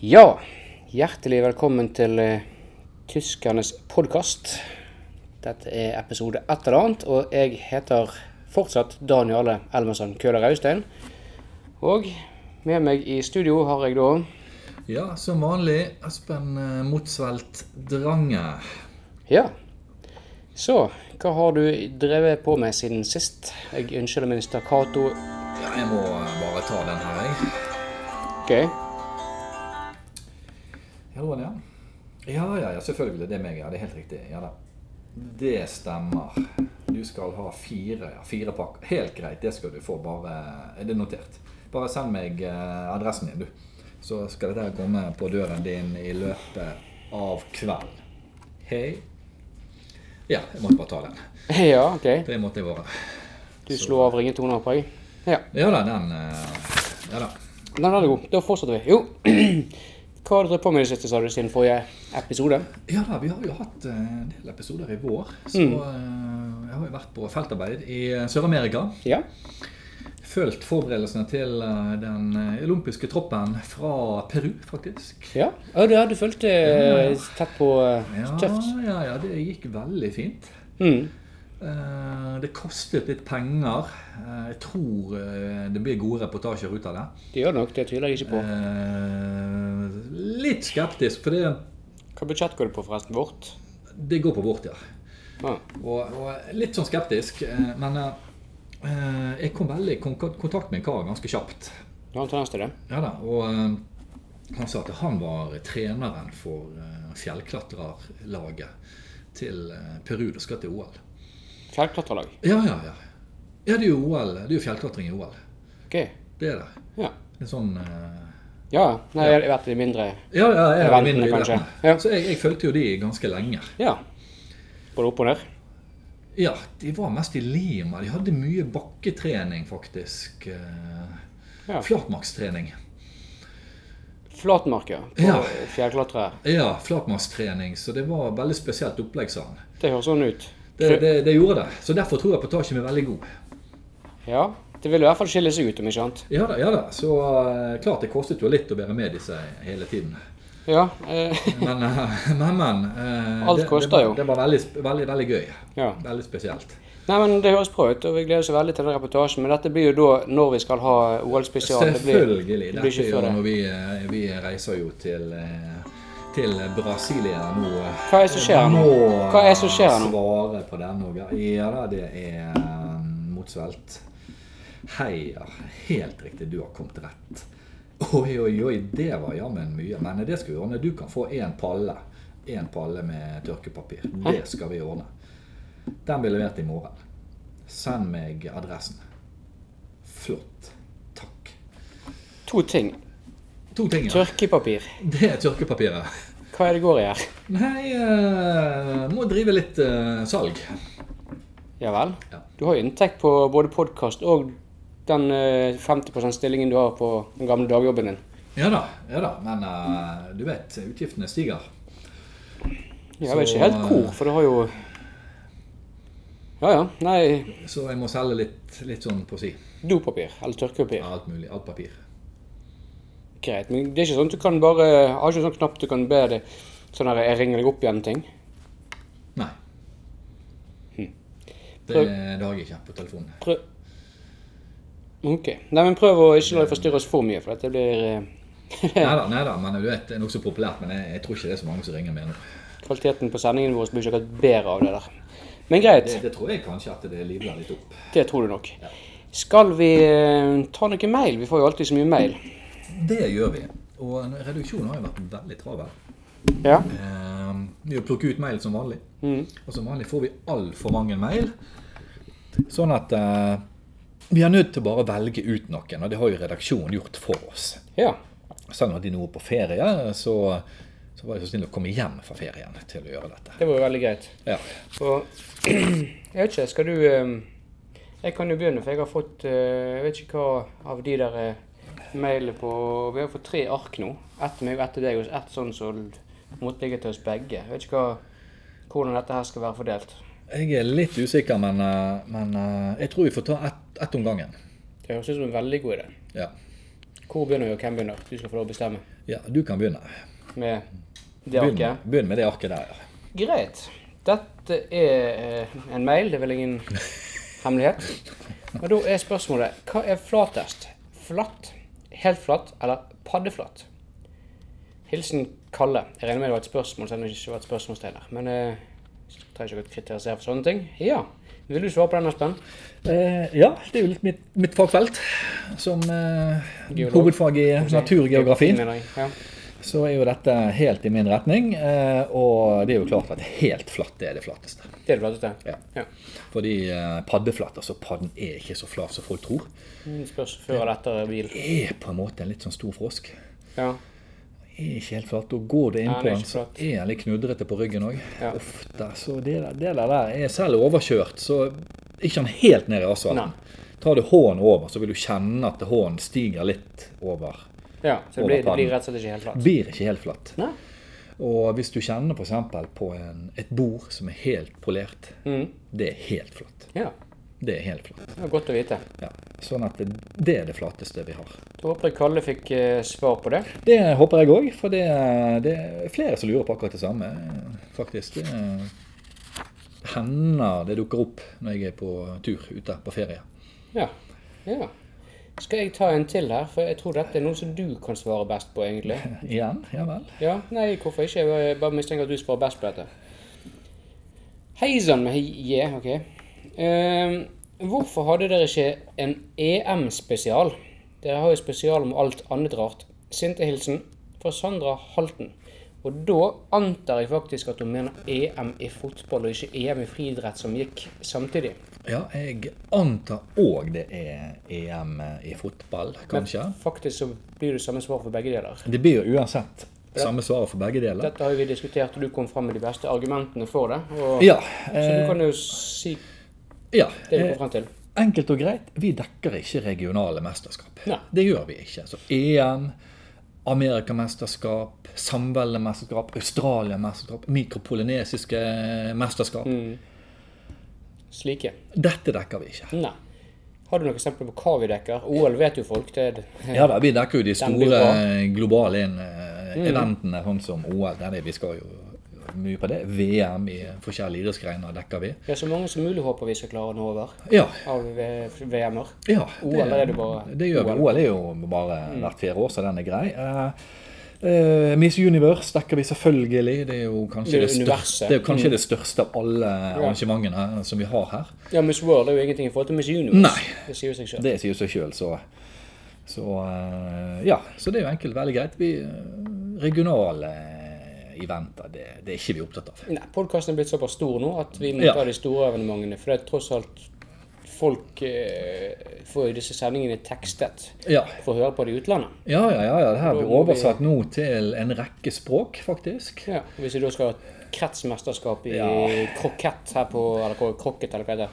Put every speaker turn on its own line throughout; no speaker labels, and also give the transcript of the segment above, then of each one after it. Ja, hjertelig velkommen til eh, Tyskernes podkast. Dette er episode et eller annet, og jeg heter fortsatt Daniel Elmersen Køhler Austein. Og med meg i studio har jeg da
Ja, som vanlig. Espen eh, Motsvelt Drange.
Ja. Så, hva har du drevet på med siden sist? Jeg unnskylder min stakkato.
Ja, jeg må eh, bare ta den her, jeg.
Ok,
Hallo, ja. Ja, ja, ja, selvfølgelig. Det er meg, ja. Det er helt riktig. Ja da. Det stemmer. Du skal ha fire, ja, fire pakker. Helt greit, det skal du få. Bare Er det notert? Bare send meg eh, adressen din, du. Så skal dette her komme på døren din i løpet av kvelden. Hei. Ja, jeg måtte bare ta den.
ja, ok.
Det måtte jeg bare.
Du slo av ringetoner på meg. Ja.
Ja da, den eh, Ja da.
Nei, den er god. Da fortsetter vi. Jo, hva har du drevet på med i det siste, sa du, siden forrige episode?
Ja da, vi har jo hatt eh, en del episoder i vår. Så eh, jeg har jo vært på feltarbeid i eh, Sør-Amerika.
Ja.
Følt forberedelsene til eh, den eh, olympiske troppen fra Peru, faktisk.
Ja, ja du, ja, du følte eh, tett på eh,
Ja,
tøft.
ja, ja, det gikk veldig fint.
Mm.
Eh, Det kostet litt penger. Eh, Jeg tror eh, det blir gode reportasjer ut av det.
Det gjør det nok, det tviler jeg ikke på.
Eh, Litt skeptisk, for det,
Hva budsjett går det på forresten? Vårt?
det går på vårt, ja.
Ja.
Og, og litt sånn skeptisk, eh, men eh, jeg kom veldig i kon- kontakt med en kar ganske kjapt.
Du har en tendens til det?
Ja da, og eh, han sa at han var treneren for eh, fjellklatrerlaget til eh, Peru, det skal til OL.
Fjellklatrelag?
Ja, ja, ja. Ja, det er jo OL. Det er jo fjellklatring i OL.
Ok.
Det er det.
Ja.
En sånn eh,
Ja, nei, jeg har vært i mindre
Ja, ja, jeg er
Eventene,
mindre
kanskje.
idretten.
Ja.
Så jeg, jeg fulgte jo de ganske lenge.
Ja. Både opp og ned?
Ja, de var mest i Lima. De hadde mye bakketrening, faktisk. eh,
Ja.
Flatmarkstrening.
Flatmarker på
Ja.
fjellklatrere.
Ja, flatmarkstrening. Så det var veldig spesielt opplegg, sa han.
Det høres sånn ut.
Det, det, det gjorde det. Så derfor tror jeg reportasjen er veldig god.
Ja. Det vil i hvert fall skille seg ut, om ikke annet.
Ja da, ja da. Så eh, klart det kostet jo litt å være med disse hele tiden.
Ja. Eh,
Men, eh, men, men eh,
Alt
det-
koster
det, var-
jo.
Det var veldig, sp- veldig, veldig gøy.
ja.
Veldig spesielt.
Nei, men Det høres bra ut, og vi gleder oss veldig til den reportasjen. Men dette blir jo da når vi skal ha OL-spesial. Det blir-
Selvfølgelig.
det
Det
blir ikke
Dette
før
gjør
det.
når vi, eh, vi reiser jo til eh, til Brasilia nå. eh,
Hva er det som skjer her nå?
Må
Hva er det som skjer her nå?
Svare på den òg. Ja da, det er eh, motsvelt. Heia. Helt riktig, du har kommet rett. Oi, oi, oi, det var jammen mye. Men det skal vi ordne. Du kan få én palle. Én palle med tørkepapir. Det skal vi ordne. Den blir levert i morgen. Send meg adressen. Flott. Takk.
To ting.
To ting. ja.
Tørkepapir.
Det er tørkepapiret.
Hva er det går i her?
Nei, eh, må drive litt eh, salg.
Ja vel.
Ja.
Du har jo inntekt på både podkast og den eh, 50 %-stillingen du har på den gamle dagjobben din.
Ja da, ja da, men eh, du vet, utgiftene stiger.
Jeg
Så,
vet ikke helt hvor, for det har jo Ja ja. Nei,
Så jeg må selge litt, litt sånn på si.
dopapir eller tørkepapir.
Alt mulig. Alt papir.
Greit. Men det er ikke sånn at du kan bare Har ikke sånn knapp du kan be det sånn her Jeg ringer deg opp igjen-ting.
Nei. Hm. Det,
Prøv.
det har jeg ikke på telefonen.
Prøv Ok. Nei, men prøv å ikke la det forstyrre oss for mye, for dette blir eh,
Nei da, nei da, men du vet, det er nokså populært. Men jeg, jeg tror ikke det er så mange som ringer mer nå.
Kvaliteten på sendingen vår blir ikke akkurat bedre av det der. Men greit,
Det, det tror jeg kanskje at det livner litt opp.
det tror du nok. Skal vi eh, ta noe mail? Vi får jo alltid så mye mail.
Det gjør vi. Og reduksjonen har jo vært veldig travel.
Ja.
Eh, Vi plukker ut mail som vanlig. Og som vanlig får vi altfor mange mail. Sånn at eh, vi er nødt til å bare velge ut noen, og det har jo redaksjonen gjort for oss.
ja.
Selv om de nå er på ferie, så, så var de så snille å komme hjem fra ferien til å gjøre dette.
Det var jo veldig greit.
Ja,
Og jeg vet ikke, skal du eh, Jeg kan jo begynne, for jeg har fått eh, Jeg vet ikke hva av de der eh, mailene på Vi har fått tre ark nå. Ett meg og ett til deg, og ett sånn som måtte ligge til oss begge. Jeg vet ikke hva, hvordan dette her skal være fordelt.
jeg er litt usikker, men, eh, men eh, jeg tror vi får ta ett ett om gangen.
Det høres ut som en veldig god idé.
Ja.
Hvor begynner vi, og hvem begynner? Du skal få lov å bestemme.
Ja, du kan begynne.
Med det
Begynn,
arket.
begynn med det arket der, ja.
Greit. Dette er eh, en mail, det er vel ingen hemmelighet. Og da er spørsmålet hva er flatest? Flatt, helt flatt eller paddeflatt? Hilsen Kalle. Jeg regner med det var et spørsmål, selv om det ikke var et spørsmålstegn her. Men eh, trenger ikke å kritisere for sånne ting. Ja. Vil du svare på den, Espen?
Eh, ja, det er jo litt mitt, mitt fagfelt. Som eh,
Geolog.
hovedfag i naturgeografi,
Mener jeg, Ja.
så er jo dette helt i min retning. Eh, og det er jo klart at helt flatt det er det flatteste.
Det er det flotteste.
Ja.
Ja.
Fordi eh, paddeflatt, altså padden er ikke så flat som folk tror.
Mm, Spørs før eller etter bil.
Er på en måte en litt sånn stor frosk.
Ja.
Er ikke helt flat. Og går det inn
Ja, den
på
er
den,
ikke
så
flat.
er den litt knudrete på ryggen òg.
Ja.
Ofte. Så det der, det der der er selv overkjørt, så er ikke han helt ned i
Nei.
asfalten. Tar du hånden over, så vil du kjenne at hånden stiger litt over.
ja. Så det blir, det
Overpannen.
blir rett og slett ikke helt flatt.
Blir ikke helt flatt.
Nei.
Og hvis du kjenner f.eks. på en, et bord som er helt polert,
Mm.
det er helt flatt.
Ja.
Det er helt flatt.
Det var godt å vite.
Ja. Sånn at det, det er det flateste vi har.
Da håper jeg Kalle fikk eh, svar på det.
Det håper jeg òg, for det, det er flere som lurer på akkurat det samme, faktisk. Det hender det dukker opp når jeg er på tur ute på ferie.
Ja. ja. Skal jeg ta en til her, for jeg tror dette er noe som du kan svare best på, egentlig.
Igjen? Ja vel.
Ja, nei, hvorfor ikke? Jeg bare- bare mistenker at du svarer best på dette. Hei sann med J, OK. Ehm, hvorfor hadde dere ikke en EM-spesial? Dere har jo spesial om alt annet rart. Sinte hilsen fra Sandra Halten. Og da antar jeg faktisk at hun mener EM i fotball og ikke EM i friidrett som gikk samtidig.
Ja, jeg antar òg det er EM i fotball, kanskje.
Faktisk så blir det samme svar for begge deler.
Det blir jo uansett samme svaret for begge deler.
Dette har jo vi diskutert, og du kom frem med de beste argumentene for det. Og,
Ja.
Så du
Eh,
kan jo si
ja.
det du
eh,
kom frem til.
Enkelt og greit, vi dekker ikke regionale mesterskap.
Nei.
Det gjør vi ikke. Så EM, Amerikamesterskap, samveldemesterskap, Australiamesterskap, mikropolynesiske mesterskap.
Mm. Slike.
Dette dekker vi ikke.
Nei. Har du noen eksempler på hva vi dekker? OL vet jo folk. Det er
Ja da, Vi dekker jo de
Mm. blir Mm.
store globale inn- eh, eventene, sånn som OL. Der er vi skal jo mye på det. VM i forskjellige idrettsgreiner dekker vi.
Ja, så mange som mulig håper vi skal klare å nå over
Ja,
av eh, VM-er.
Ja,
OL er det bare- Mm.
det gjør vi. OL er jo bare hvert fjerde år, så den er grei. Eh, eh, Miss Universe dekker vi selvfølgelig. Det er jo kanskje,
Det er
det,
universet. Mm.
største, det, er jo kanskje det største av alle arrangementene som vi har her.
Ja, Miss World er jo ingenting i forhold til Miss Universe.
Nei.
Det sier jo seg selv.
Det sier seg sjøl, så, så eh, Ja, så det er jo enkelt veldig greit. Vi, eh, regionale eventer, det, det er ikke vi opptatt av.
Nei, podkasten er blitt såpass stor nå at vi må
Ja.
ta de store evenementene. For det er tross alt Folk eh, får jo disse sendingene tekstet
Ja,
for å høre på det i utlandet.
ja, ja. ja, ja. Det her
Da
blir
må vi-
oversatt nå til en rekke språk, faktisk.
Ja, og Hvis vi da skal ha et kretsmesterskap i
Ja.
krokett her på Eller hva- krokket, eller hva heter det?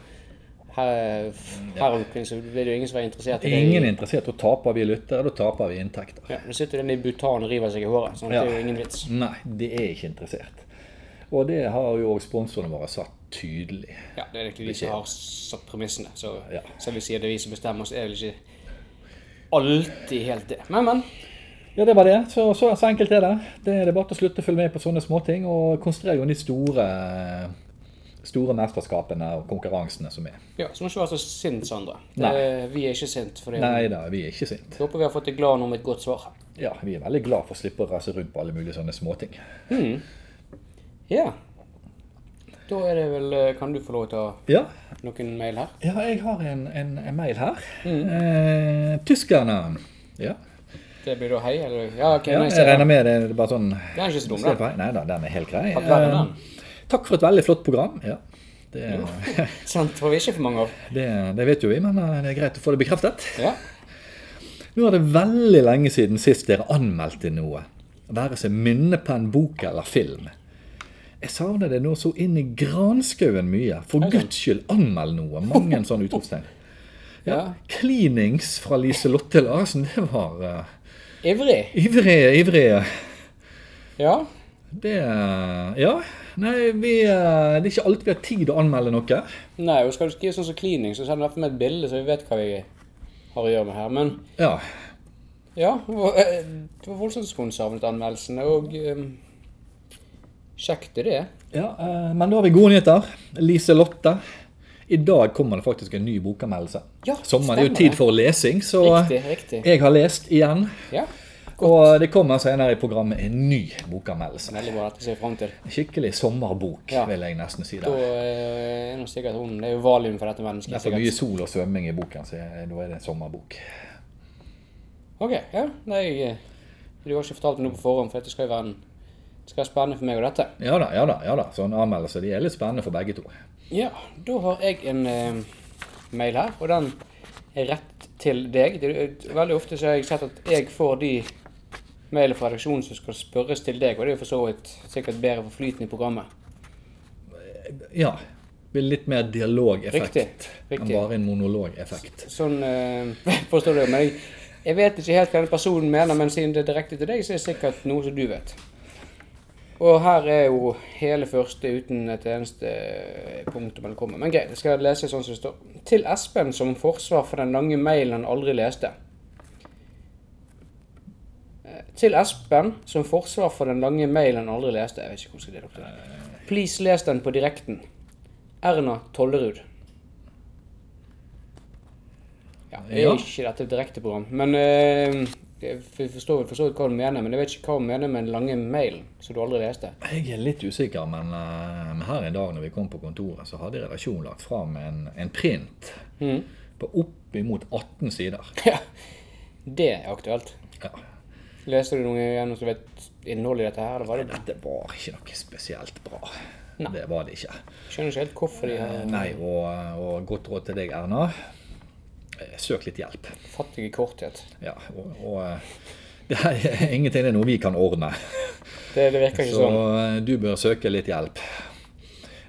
Her, her omkring så blir det jo ingen som er interessert i det.
Mm, Ingen er interessert. Da taper vi lyttere, da taper vi inntekter.
Ja, Nå sitter den i Bhutan og river seg i håret, sånn at
Ja.
det er jo ingen vits.
Nei, de er ikke interessert. Og det har jo også sponsorene våre satt tydelig.
Ja, Det er egentlig vi som har satt premissene. Så
Ja.
selv om vi sier det er vi som bestemmer, så er det vel ikke alltid helt det. Men, men.
Ja, det var det. Så, så, så enkelt er det. Det er det bare til å slutte å følge med på sånne småting, og konsentrere jo om de store, store mesterskapene og konkurransene som er.
Ja, Så må du ikke være så sint, Sandra. Det,
Nei.
vi er ikke sint. For det.
Nei da, vi er ikke sint.
Jeg håper vi har fått deg glad nå med et godt svar.
Ja, vi er veldig glad for å slippe å reise rundt på alle mulige sånne småting.
Ja. Da er det vel eh, Kan du få lov til å
Ja,
ta noen mail her?
ja jeg har en, en, en mail her. Eh, tyskerne. Ja,
Det blir da hei, eller? Ja, ok,
ja
nei,
jeg
ser
regner
det.
med det. Det er bare sånn
Den er ikke så dum,
Se
den.
på her. Nei da, den er helt grei.
Hadde vært en
Eh,
annen.
Takk for et veldig flott program. Ja, det,
Sant, for vi er ikke for mange av.
det, det vet jo vi, men eh, det er greit å få det bekreftet.
Ja.
Nå er det veldig lenge siden sist dere anmeldte noe. Være seg minnepenn, bok eller film. Jeg savner det nå så inn i granskauen mye. For guds skyld, anmeld noe! Mange en sånn utropstegn.
ja.
Cleanings fra Liselotte Larsen, det var eh,
Ivrig.
ivrige, ivrige.
Ja.
Det Ja. Nei, vi, eh, det er ikke alltid vi har tid å anmelde noe.
Nei, og skal du skrive sånn som cleaning, så send i hvert fall med et bilde, så vi vet hva vi har å gjøre med her. Men
Ja.
Ja, det var, eh, det var voldsomt skonsavnet anmeldelsene, og ehm, kjekt er det.
Ja, eh, men da har vi gode nyheter. Lise Lotte. I dag kommer det faktisk en ny bokanmeldelse.
Ja,
Sommeren er jo
stemmer
tid
det.
for lesing, så
Riktig, riktig.
jeg har lest igjen.
Ja,
Og det kommer senere i programmet en ny bokanmeldelse.
veldig bra dette ser jeg frem til.
Skikkelig sommerbok,
Ja.
vil jeg nesten si.
Da
der.
eh, er nå sikkert hun, det er jo valium for dette
Det er
mennesket
for
sikkert.
mye sol og svømming i boken, så jeg- da er det en sommerbok.
Ok, ja, nei, eh, du har ikke fortalt meg noe på forhånd, for dette skal jo være en, det skal være spennende for meg og dette.
Ja da, ja da. ja da. Sånne anmeldelser de er litt spennende for begge to.
Ja, da har jeg en eh, mail her, og den er rett til deg. Det, er- eh, veldig ofte så har jeg sett at jeg får de mailene fra redaksjonen som skal spørres til deg, og det er jo for så vidt sikkert bedre for flyten i programmet.
Ja. Blir litt mer dialogeffekt
Riktig,
enn
riktig.
bare en monologeffekt.
Sånn eh, forstår du, men jeg, jeg vet ikke helt hva den personen mener, men siden det er direkte til deg, så er det sikkert noe som du vet. Og her er jo hele første uten et eneste eh, punkt om velkommen. Men greit, jeg skal lese sånn som det står. Til Espen som forsvar for den lange mailen han aldri leste. Eh, Til Espen som forsvar for den lange mailen han aldri leste. Jeg vet ikke hvordan jeg skal dele opp det. Please les den på direkten. Erna Tollerud. Ja, det
Ja.
er ikke dette et direkteprogram, men eh, jeg forstår vel for så vidt hva hun mener, men jeg vet ikke hva hun mener med den lange mailen som du aldri leste.
Jeg er litt usikker, men eh, men her en dag når vi kom på kontoret, så hadde redaksjonen lagt fram en, en print
Mhm.
på oppimot 18 sider.
Ja, det er aktuelt.
Ja.
Leste du noe gjennom som vet innholdet i dette her? Eller var det?
Dette var ikke noe spesielt bra.
Nei.
Det var det ikke.
Skjønner ikke helt hvorfor de
Eh,
har
Nei, og, og godt råd til deg, Erna. Eh, Søk litt hjelp.
fattig i korthet.
Ja, og, og eh, det er ingenting det er noe vi kan ordne.
Det, det virker ikke
Så
sånn.
eh, du bør søke litt hjelp.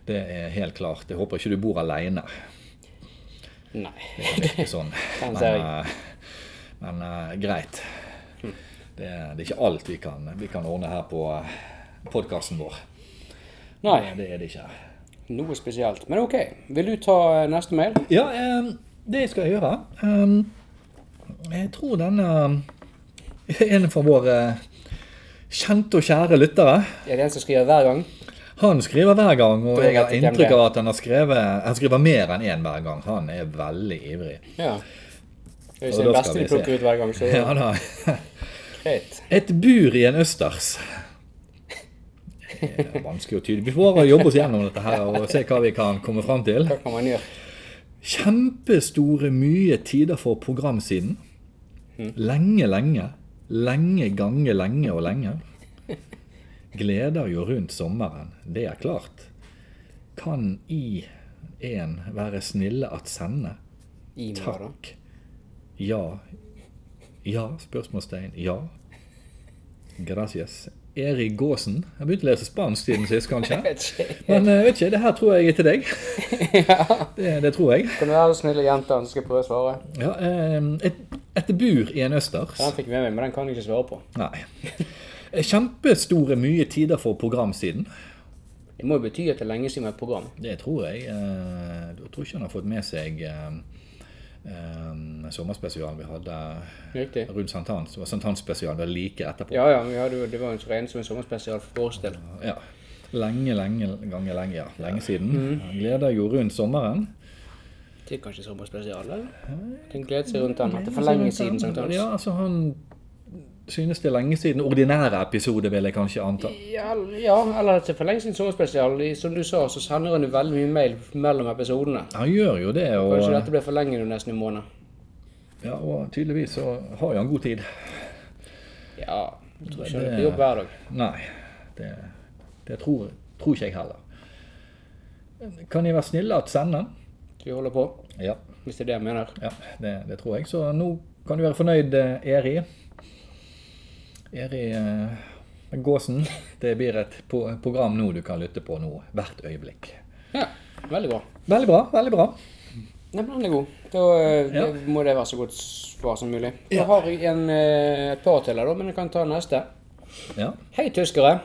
Det er helt klart. Jeg håper ikke du bor aleine.
Nei.
Det virker sånn.
Den
Men,
ser
eh, men eh, greit. Det, er- det er ikke alt vi kan, vi kan ordne her på podkasten vår.
Nei,
Det, det er det ikke.
noe spesielt. Men ok, vil du ta eh, neste mail?
Ja, eh, det skal jeg gjøre. Eh, jeg tror denne eh, en fra våre kjente og kjære lyttere.
Er det en som skriver hver gang?
Han skriver hver gang, og
Da vet
jeg har
jeg hvem
inntrykk
det er.
av at han har skrevet Han skriver mer enn én hver gang. Han er veldig ivrig.
Ja. Hvis det er
Og da
beste
skal
de
vi se.
plukker ut hver gang, så
Ja da.
greit.
Et bur i en østers. Det er vanskelig å tyde. Vi får jobbe oss gjennom dette her og se hva vi kan komme fram til.
Hva kan man gjøre?
Kjempestore mye tider for programsiden. Lenge, lenge. Lenge, gange, lenge og lenge. Gleder jo rundt sommeren, det er klart. Kan i en være snille at sende?
I meg, da.
Takk. Ja. Ja? Spørsmålstegn. Ja. Gracias. Erik Gåsen. Jeg begynte å lese spansk siden sist, kanskje.
Vet ikke.
Men eh, vet ikke, det her tror jeg er til deg. Det, det tror jeg.
Kan du være så snill og gjenta den, så skal jeg prøve å svare?
Ja, eh, et, et bur i en østers.
Den fikk jeg med meg, men den kan jeg ikke svare på.
Nei. Kjempestore mye tider for programsiden.
Det må jo bety at det er lenge siden vi har et program.
Det tror jeg. Eh, jeg tror ikke han har fått med seg eh, eh, sommerspesialen vi hadde
Riktig.
rundt sankthans. Det var sankthansspesialen vi hadde like etterpå.
Ja, ja, vi hadde, jo- det var jo så rent som en sommerspesial for vår del.
Ja. Lenge, lenge, ganger lenge, ja. Lenge siden.
Mm.
Han Gleder jo rundt sommeren.
Det er kanskje sommerspesial, eller? Den gleder seg rundt den. At det er for lenge siden sånn sankthans.
Ja, altså han synes det er lenge siden. Ordinære episode, vil jeg kanskje anta.
Ja, ja, eller at det er for lenge siden sommerspesial. I- Som du sa, så sender han jo veldig mye mail mellom episodene.
Han gjør jo det, og
Kanskje dette ble for lenge nå nesten i måned.
Ja, og tydeligvis så har jo han god tid.
Ja, jeg tror ikke han er på jobb hver dag.
Nei, det, det tror, tror ikke jeg heller. Kan jeg være snille at sende?
Så vi holder på,
Ja,
hvis det er det jeg mener.
ja det, det tror jeg. Så nå kan du være fornøyd, eh, Eri. Eri eh, Gåsen. Det blir et po program nå du kan lytte på nå, hvert øyeblikk.
Ja, veldig bra.
Veldig bra, veldig bra.
Nei, men den er god. Da eh,
Ja.
det- må det være så godt svar som mulig.
Ja.
Da har jeg en, eh, et par til her, da, men jeg kan ta neste.
Ja.
Hei, tyskere.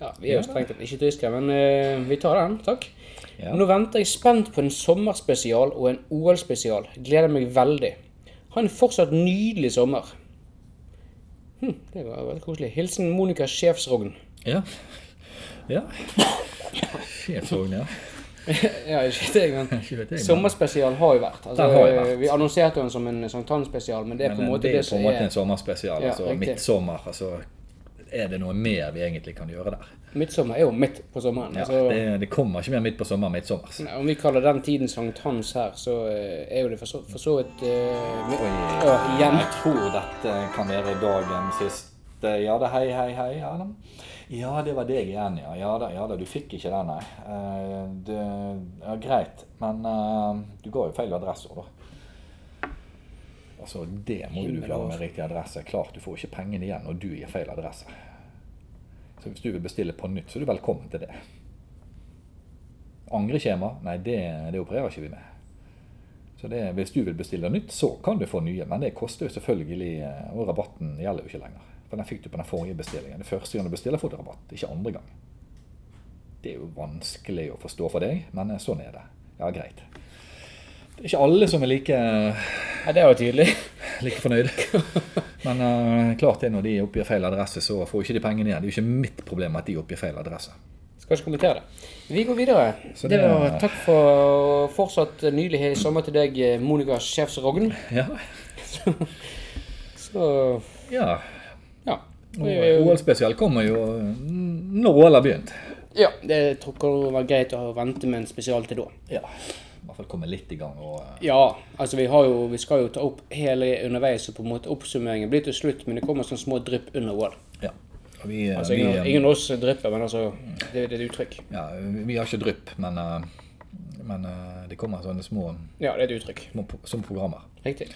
Ja, vi er jo strengt tatt ikke tyskere, men eh, vi tar den, takk.
Ja.
Nå venter jeg spent på en sommerspesial og en OL-spesial. Gleder meg veldig. Ha en fortsatt nydelig sommer. Hm, det var veldig koselig. Hilsen Monica Sjefsrogn.
Ja. ja. Sjefsvogn, ja.
ja, ikke det, men
Ikke vet jeg, men-
Sommerspesial har jo vært. Altså,
Den har jo vært.
Vi annonserte den som en sankthansspesial, men det er på en
Men eh,
måte det,
det er på
som
en måte
er
en sommerspesial.
Ja,
altså
riktig.
midtsommer. Altså, er det noe mer vi egentlig kan gjøre der?
Midtsommer er jo midt på sommeren.
Ja,
altså,
det, det kommer ikke mer midt på sommer midtsommers.
Om vi kaller den tiden sankthans her, så eh, er jo det for så, for så vidt eh, mi- Ja, igjen.
Jeg tror dette kan være dagen sist. Ja da, hei, hei, hei. Ja da, ja, det var deg igjen, ja. Ja da, ja da du fikk ikke den, nei. Eh, det, ja, greit, men eh, du ga jo feil adresse, da. Altså, det må jo du klare med riktig adresse. Klart du får ikke pengene igjen når du gir feil adresse. Så hvis du vil bestille på nytt, så er du velkommen til det. Angreskjema? Nei, det, det opererer ikke vi med. Så det, hvis du vil bestille nytt, så kan du få nye, men det koster jo selvfølgelig, eh, og rabatten gjelder jo ikke lenger. For den fikk du på den forrige bestillingen. Det første gang du bestiller, får du rabatt, ikke andre gang. Det er jo vanskelig å forstå for deg, men eh, sånn er det. Ja, greit. Det er ikke alle som er like, eh,
Ja, det var tydelig.
like fornøyd. Men eh, klart det, når de oppgir feil adresse, så får ikke de pengene igjen. Det er jo ikke mitt problem at de oppgir feil adresse.
Skal ikke kommentere det. Vi går videre.
Så
det,
det-
var Takk for fortsatt nylig hei sommer til deg, eh, Monica Sjefsrogn.
Ja,
Så
ja.
ja.
Og OL-spesial kommer jo mm, når OL har begynt.
ja det tror jeg det var greit å vente med en spesial til da.
Ja, i hvert fall komme litt i gang og eh,
Ja, altså vi, har jo, vi skal jo ta opp hele underveis, så på en måte oppsummeringen blir til slutt, men det kommer sånne små drypp under OL.
Ja. Mm. Og vi,
Altså,
vi,
ingen, ingen av oss drypper, men altså, det, det er et uttrykk.
ja, vi har ikke drypp, men, eh, men eh, det kommer sånne små,
Ja, det er et uttrykk.
små pro- som programmer.
Riktig.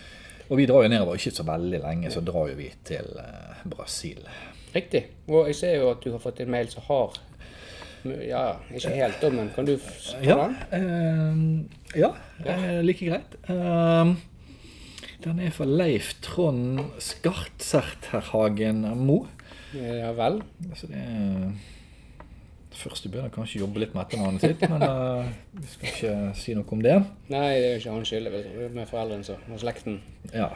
Og vi drar jo nedover, ikke så veldig lenge, så drar jo vi til eh, Brasil.
Riktig. Og jeg ser jo at du har fått en mail som har Ja, ikke helt, da, men kan du f- ta
Ja,
den?
eh, ja eh, like greit. Eh, den er fra Leif Trond Skartsert Herr Hagen Mo.
Ja vel.
Altså det er Først du begynner kanskje å jobbe litt med etternavnet sitt, men eh, vi skal ikke si noe om det.
Nei, det er jo ikke hans skyld. vet du. Det er Med foreldrene så, og slekten.
Ja,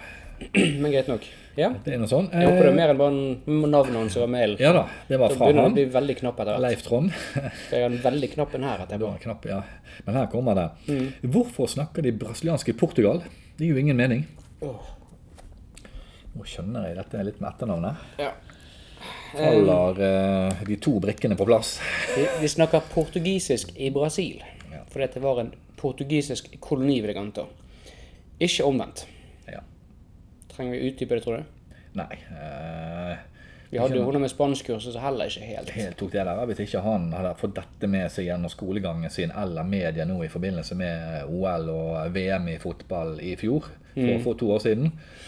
Men greit nok. Ja.
det er noe sånn.
Jeg håper det er
Eh,
mer enn bare n- navnet hans som var mailen.
Ja da, det var
Da
fra
begynner det å
han.
bli veldig knapp etter hvert.
Leif Trond.
Skal jeg ha den veldig knappen her
Det
etterpå?
var en knapp, ja. Men her kommer det.
Mm.
Hvorfor snakker de brasilianske i Portugal? Det gir jo ingen mening.
Åh.
Nå skjønner jeg dette litt med etternavnet.
Ja.
Faller eh, de to brikkene på plass.
De, de snakker portugisisk i Brasil.
Ja.
For dette var en portugisisk koloni, vil jeg anta. Ikke omvendt.
Ja.
Trenger vi utdype det, tror du?
Nei. eh,
Vi hadde jo hun med spanskkurset, så heller ikke helt.
helt tok det der. Hvis ikke han hadde fått dette med seg gjennom skolegangen sin eller media nå i forbindelse med OL og VM i fotball i fjor, for, for to år siden, da,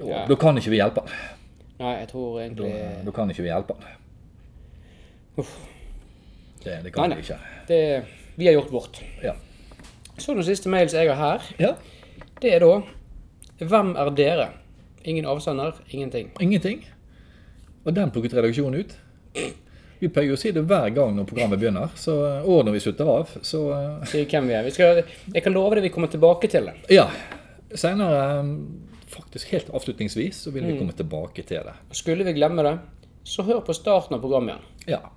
Mm. Ja.
da kan ikke vi hjelpe han.
Nei, jeg tror egentlig
Da, da kan ikke vi hjelpe han. Det, det
Nei,
kan
nei.
vi ikke.
det, Vi har gjort vårt.
Ja.
Så den siste mailen som jeg har her,
ja.
det er da Hvem er dere? Ingen avsender, ingenting.
Ingenting. Og den plukket redaksjonen ut. Vi pleier jo å si det hver gang når programmet begynner, så, og når vi slutter av. Så eh,
Si hvem vi er. Vi skal, jeg kan love deg vi kommer tilbake til det.
ja. Senere, eh, faktisk helt avslutningsvis, så vil vi komme tilbake til det.
Skulle vi glemme det, så hør på starten av programmet igjen.
Ja.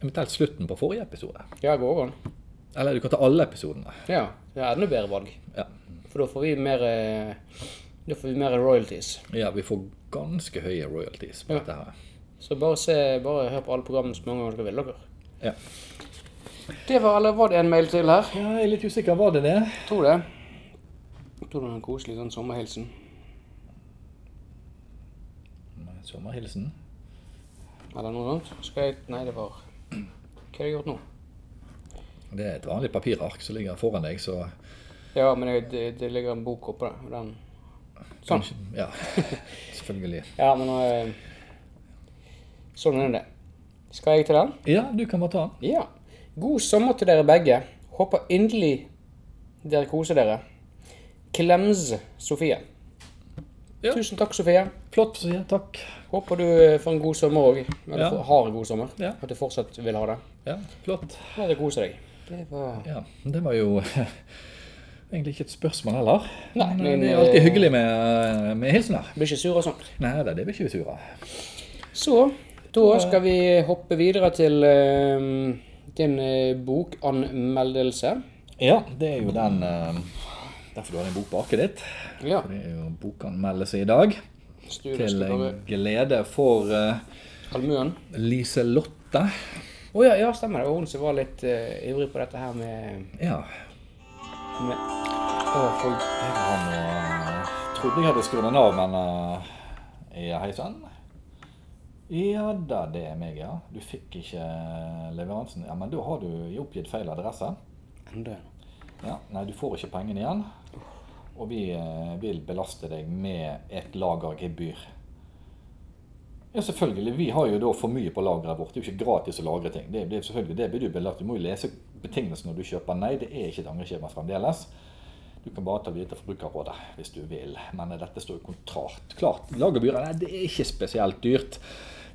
Eventuelt slutten på forrige episode.
Ja, går an.
Eller du kan ta alle episodene.
Ja, det er enda bedre valg.
Ja.
For da får vi mer eh, Da får vi mer royalties.
ja, vi får ganske høye royalties på
Ja.
dette her.
Så bare, se, bare hør på alle programmene så mange ganger dere vil. dere.
Ja.
Det var, eller var det en mail til her?
ja, jeg er litt usikker. Var det det?
Tror det. Jeg tror det var en koselig sånn sommerhilsen.
Sommerhilsen.
Eller noe annet. Skal jeg Nei, det var Hva har jeg gjort nå?
Det er et vanlig papirark som ligger foran deg, så
Ja, men jeg, det, det ligger en bok oppå der. og Den. Sånn.
Ja, selvfølgelig.
Ja, men eh, Sånn er det. Skal jeg til den?
Ja, du kan bare ta den.
Ja. God sommer til dere begge. Håper inderlig dere koser dere. Klems Sofie.
Ja.
Tusen takk, Sofie.
Flott, så ja, takk.
Håper du eh, får en god sommer òg. Eller
Ja.
får- har en god sommer.
Ja.
At du fortsatt vil ha det.
Ja, flott.
Bare kose deg. Det var
Ja, det var jo Egentlig ikke et spørsmål heller.
Nei,
men,
men,
det er alltid
eh,
hyggelig med, eh, med hilsener.
Blir ikke sur og sånn.
Nei da, det blir ikke vi sure.
Så, eh, da skal vi hoppe videre til eh, din eh, bokanmeldelse.
Ja, det er jo den eh, Derfor du har en bok på arket ditt.
Ja.
For Det er jo bokanmeldelse i dag. Til eh,
Studiestudere
glede for eh,
Almuen.
Liselotte.
Å ja, ja, stemmer det. Det var hun som var litt eh, ivrig på dette her med,
Ja.
med Å, folk
Jeg har nå, eh, trodde jeg hadde skrudd den av, men eh, Ja, hei sann. Ja da, det er meg, ja. Du fikk ikke eh, leveransen. Ja, men da har du oppgitt feil adresse.
Enda.
Ja, Nei, du får ikke pengene igjen. Og vi eh, vil belaste deg med et lagergebyr. Ja, selvfølgelig. Vi har jo da for mye på lageret vårt. Det er jo ikke gratis å lagre ting. Det, det, er selvfølgelig, det blir du belagt. Du må jo lese betingelsene når du kjøper. Nei, det er ikke et angreskjema fremdeles. Du kan bare ta via til Forbrukerrådet hvis du vil. Men eh, dette står jo kontrakt. Klart, lagerbyret nei, det er ikke spesielt dyrt.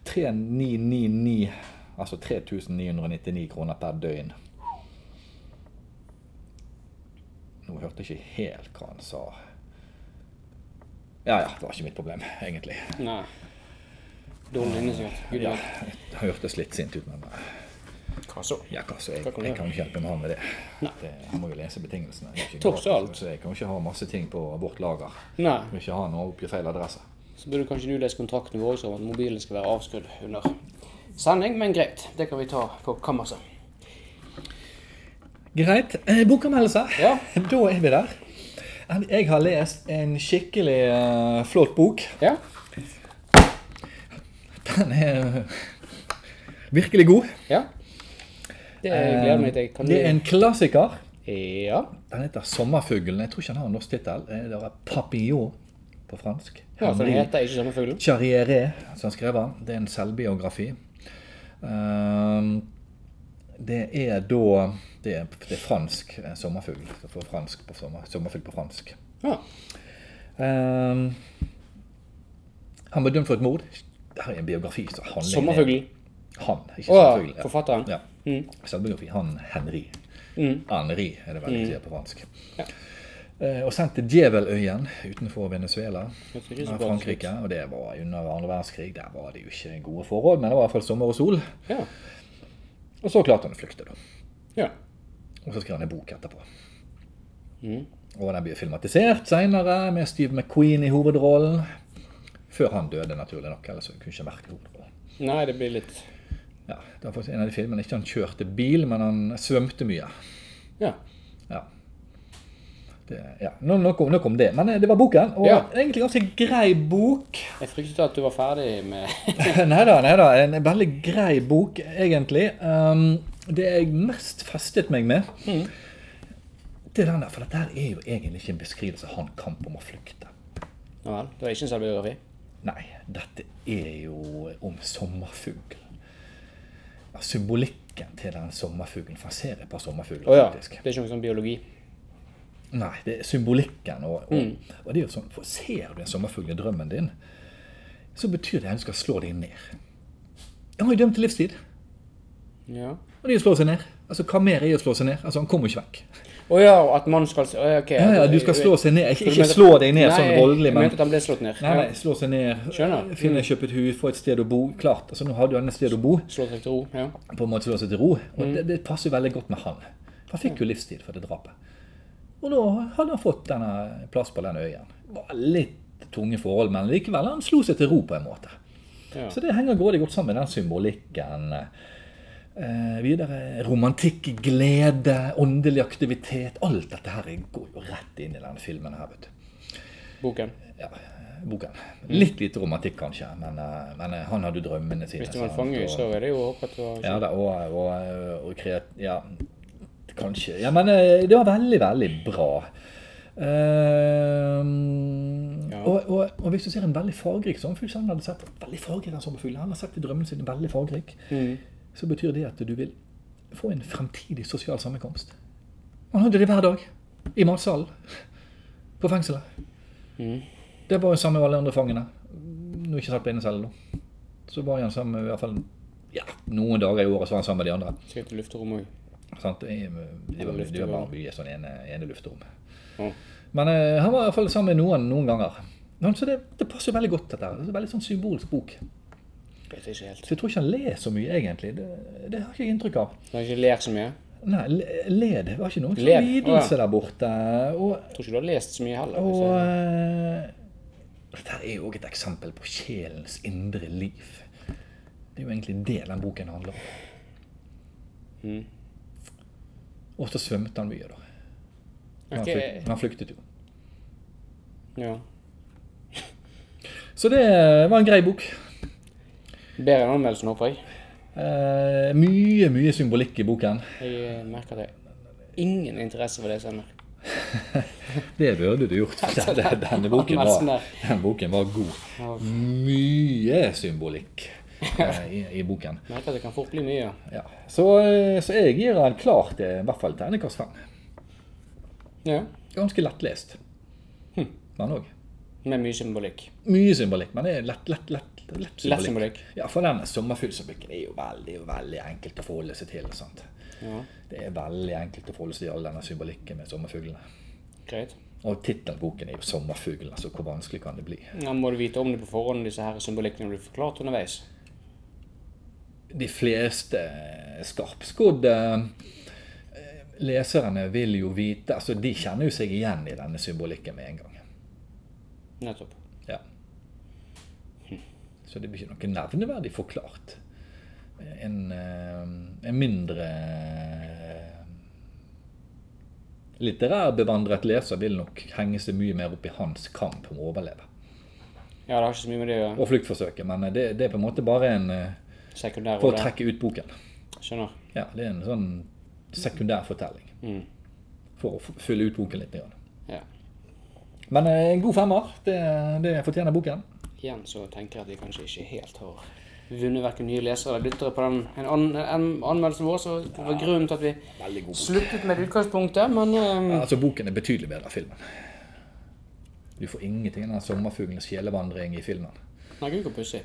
3999, altså 3999 kroner per døgn. Nå hørte jeg ikke helt hva han sa. Ja ja, det var ikke mitt problem, egentlig.
Nei. Dårlig linje, sikkert. Gud,
Ja,
ja.
jeg hørtes litt sint ut, men eh,
Hva så?
ja, hva, så jeg,
Hva kan du
jeg kan jo ikke hjelpe meg med det.
Nei.
det. Jeg må jo lese betingelsene. Det er ikke
Tross
gratis,
alt.
Så jeg kan jo ikke ha masse ting på vårt lager.
Nei.
Jeg vil ikke ha noe oppgitt feil adresse.
Så burde kanskje du lese kontrakten vår også om at mobilen skal være avskrudd under sending, men greit. Det kan vi ta på kammerset.
Greit. Eh, Bokanmeldelse.
Ja.
Da er vi der. Jeg har lest en skikkelig eh, flott bok.
Ja?
Den er eh, virkelig god. Eh,
Ja? Det gleder jeg meg til. Kan
Det er en klassiker.
du Ja.
Den heter Sommerfuglen. Jeg tror ikke han har en norsk tittel. Eh, Det er Papillon på fransk.
ja altså, så den
Henri
heter ikke samme fuglen?
Charriere, som skrev han. Det er en selvbiografi. Ehm, Det er da Det er, det er fransk eh, sommerfugl. Så får fransk på sommer, sommerfugl på fransk.
Ja.
Ehm, han ble dømt for et mord. Det her er en biografi. Så han er-
Sommerfuglen.
Han, ikke
Å ja.
sommerfugl. ja.
Forfatteren.
Ja.
Mm.
Selvbiografi. Han Henri.
Mm.
Henri, er det vel de sier på fransk.
Ja.
Eh, Og sendt til Djeveløyen utenfor Venezuela
Jeg tror ikke så
av
bra.
Frankrike. Og det var under andre verdenskrig. Der var det jo ikke gode forhold, men det var i hvert fall sommer og sol.
Ja.
Og så klarte han å flykte, da.
ja.
Og så skrev han en bok etterpå.
Mm.
Og den blir filmatisert seinere, med Steve McQueen i hovedrollen. Før han døde, naturlig nok. Ellers kunne han ikke merke hovedrollen.
Nei, det blir litt
Ja, det var faktisk en av de filmene. Ikke han kjørte bil, men han svømte mye.
Ja.
Ja. Det, ja. Nå, nå, kom, nå kom det. Men eh, det var boken. Og
Ja.
egentlig ganske grei bok.
Jeg fryktet at du var ferdig med
nei da, nei da. En veldig grei bok, egentlig. Um, det jeg mest festet meg med,
Mm.
det er den der. For dette her er jo egentlig ikke en beskrivelse av han kamp om å flykte.
Ja vel. Det var ikke en selvbiografi?
Nei, dette er jo om sommerfuglen. Ja, symbolikken til den sommerfuglen. For han ser et par sommerfugler,
Å ja.
faktisk.
Det er ikke noe sånn biologi?
Nei, det er symbolikken. Og, og,
Mm.
og det er jo sånn, for Ser du en sommerfugl i drømmen din, så betyr det at du skal slå deg ned. Han var jo dømt til livstid,
Ja.
og det er å slå seg ned. Altså, Hva mer er å slå seg ned? Altså, Han kommer jo ikke vekk.
Å ja, og at man skal Å ja, ok.
Ja, ja, Du skal slå seg ned. Ikke,
Du
ikke
mente-
slå deg ned sånn
Nei,
voldelig,
Jeg
men
mente at han ble slått ned.
Nei, nei,
Ja.
slå seg ned,
Skjønner.
finne kjøpe et hus, få et sted å bo. Klart. altså Nå hadde jo han et sted å bo.
Slått seg til ro. Ja.
på en måte slå seg til ro. Og
Mm.
det, det passer jo veldig godt med han. For han fikk jo livstid for det drapet. Og da hadde han fått denne plass på den øyen. Det var litt tunge forhold, men likevel, han slo seg til ro på en måte.
Ja.
Så det henger grådig godt sammen med den symbolikken. Eh, videre romantikk, glede, åndelig aktivitet. Alt dette her går jo rett inn i denne filmen her, vet du
Boken.
ja, boken.
Mm.
Litt lite romantikk, kanskje, men, eh, men eh, han hadde jo drømmene sine.
Hvis det var en
sant,
fange,
og-
så er det jo å håpe at det var
ja, da, eh, og, og, og kreat... Ja, kanskje. Ja, men eh, det var veldig, veldig bra. Ehm,
Ja.
og, og, og hvis du ser en veldig fargerik sommerfugl som han hadde sett veldig fargerik den sommerfuglen, han har sett i drømmene sine veldig fargerik, så betyr det at du vil få en fremtidig sosial sammenkomst. Han hadde det hver dag. I matsalen. På fengselet. Det var jo sammen med alle andre fangene. Nå er ikke satt på innecelle, da. Så var han sammen med i hvert fall ja, noen dager i året så var han sammen med de andre.
Sikkert i lufterommet òg.
Sant? Det er- De var, de var bare mye sånn ene, ene lufterom.
Mm.
Men eh, han var i hvert fall sammen med noen noen ganger. Men Så det, det passer jo veldig godt, dette. her. Det er en Veldig sånn symbolsk bok.
Vet ikke helt.
Så jeg tror ikke han ler så mye, egentlig. Det, det har ikke jeg inntrykk av.
Du har ikke ler så mye?
Nei, le- led det var ikke noen
Led,
sånn lidelse
å ja.
der borte. Og,
Jeg tror ikke du har lest så mye heller.
og
hvis jeg-
eh, Dette er jo også et eksempel på sjelens indre liv. Det er jo egentlig det den boken handler om. eh.
Mm.
Og så svømte han mye, da. Men han,
Ok,
flykt, men han flyktet jo.
ja.
Så det eh, var en grei bok.
Bedre enn anmeldelsen, håper jeg.
Eh, mye, mye symbolikk i boken.
Jeg eh, merker at jeg har ingen interesse for det senere.
Det burde du gjort. for Den, denne boken var, den boken var god.
Ja.
Mye symbolikk eh, i, i boken.
Merker at det kan fort bli mye.
Ja. Så, eh, så jeg gir den klart eh, i hvert fall terningkast fem.
Ja.
Ganske lettlest.
Hm.
Den òg.
Med mye symbolikk.
Mye symbolikk, men det er lett, lett, lett, lett
Lett
symbolikk.
symbolikk.
Ja, for den sommerfuglsymbolikken er jo veldig, veldig enkelt å forholde seg til. Sant?
Ja,
Det er veldig enkelt å forholde seg til all denne symbolikken med sommerfuglene.
greit.
Og tittelboken er jo 'Sommerfuglen', altså hvor vanskelig kan det bli?
Ja, må du vite om det på forhånd, disse her symbolikkene blir forklart underveis?
De fleste skarpskodde eh, leserne vil jo vite altså De kjenner jo seg igjen i denne symbolikken med en gang.
Nettopp.
Ja. Så det blir ikke noe nevneverdig forklart. En, eh, en mindre eh, litterær bevandret leser vil nok henge seg mye mer opp i hans kamp om å overleve.
Ja, det har ikke så mye med det å gjøre.
Og fluktforsøket, men eh, det, det er på en måte bare en eh,
Sekundær
For
og
å
det.
trekke ut boken.
Skjønner.
Ja, Det er en sånn sekundær fortelling.
Mm.
For å f- fylle ut boken litt. grann.
Ja.
Men eh, en god femmer, det, det fortjener boken.
Igjen så tenker jeg at vi kanskje ikke helt har vunnet hverken nye lesere eller lyttere på den en an en anmeldelsen vår, så det var grunnen til at vi
Veldig god.
sluttet med det utgangspunktet, men eh,
Altså, Boken er betydelig bedre enn filmen. Du får ingenting av den sommerfuglens sjelevandring i filmen.
Nei, gud, så pussig.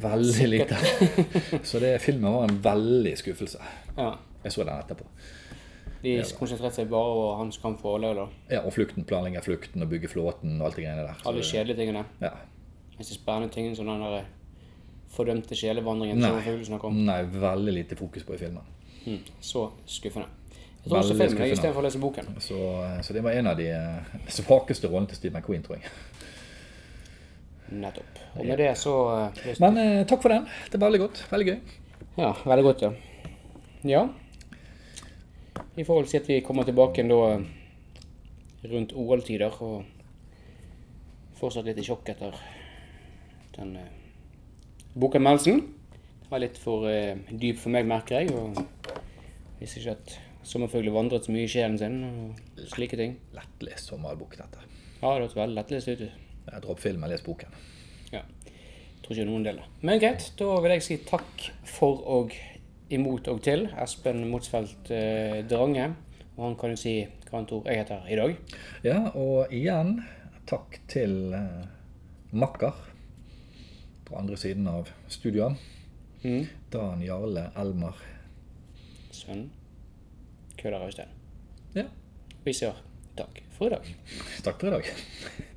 Veldig lite. Så det, filmen var en veldig skuffelse.
Ja.
Jeg så den etterpå.
De konsentrerte seg bare over hans kamp for overlevelse. da.
Ja, Og flukten, planlegger flukten og bygger flåten og alt det greiene der. Så
Alle
det-
kjedelige tingene.
ja.
Mens de spennende tingene som den der eh, fordømte sjelevandringen som
Nei.
Fugle snakker om.
Nei, veldig lite fokus på i filmen.
Mm. Så skuffende. Jeg tror også
Veldig
filmen jeg,
skuffende.
istedenfor å lese boken.
Så, så det var en av de eh, svakeste rollene til Steve McQueen, tror jeg.
Nettopp. Og med det så eh,
Men eh, takk for den. Det var veldig godt. Veldig gøy.
Ja, veldig godt, ja. Ja. Vi får vel si at vi kommer tilbake igjen da eh, rundt OL-tider og fortsatt litt i sjokk etter den eh, bokanmeldelsen. Den var litt for eh, dyp for meg, merker jeg. og Visste ikke at sommerfugler vandret så mye i sjelen sin og slike ting.
Lettlest sommerbok, dette.
Ja, det hørtes veldig lettlest ut.
Jeg Dropp filmen, les boken.
Ja. Tror ikke noen deler. Men greit, da vil jeg si takk for og imot og til Espen Motsfeldt eh, Drange. Og han kan jo si hva han tror jeg heter i dag.
Ja, og igjen takk til eh, makker på andre siden av studioet.
Mhm.
Dan Jarle Elmer.
Sønn Køller Austein.
Ja,
Vi sier takk for i dag.
takk for i dag.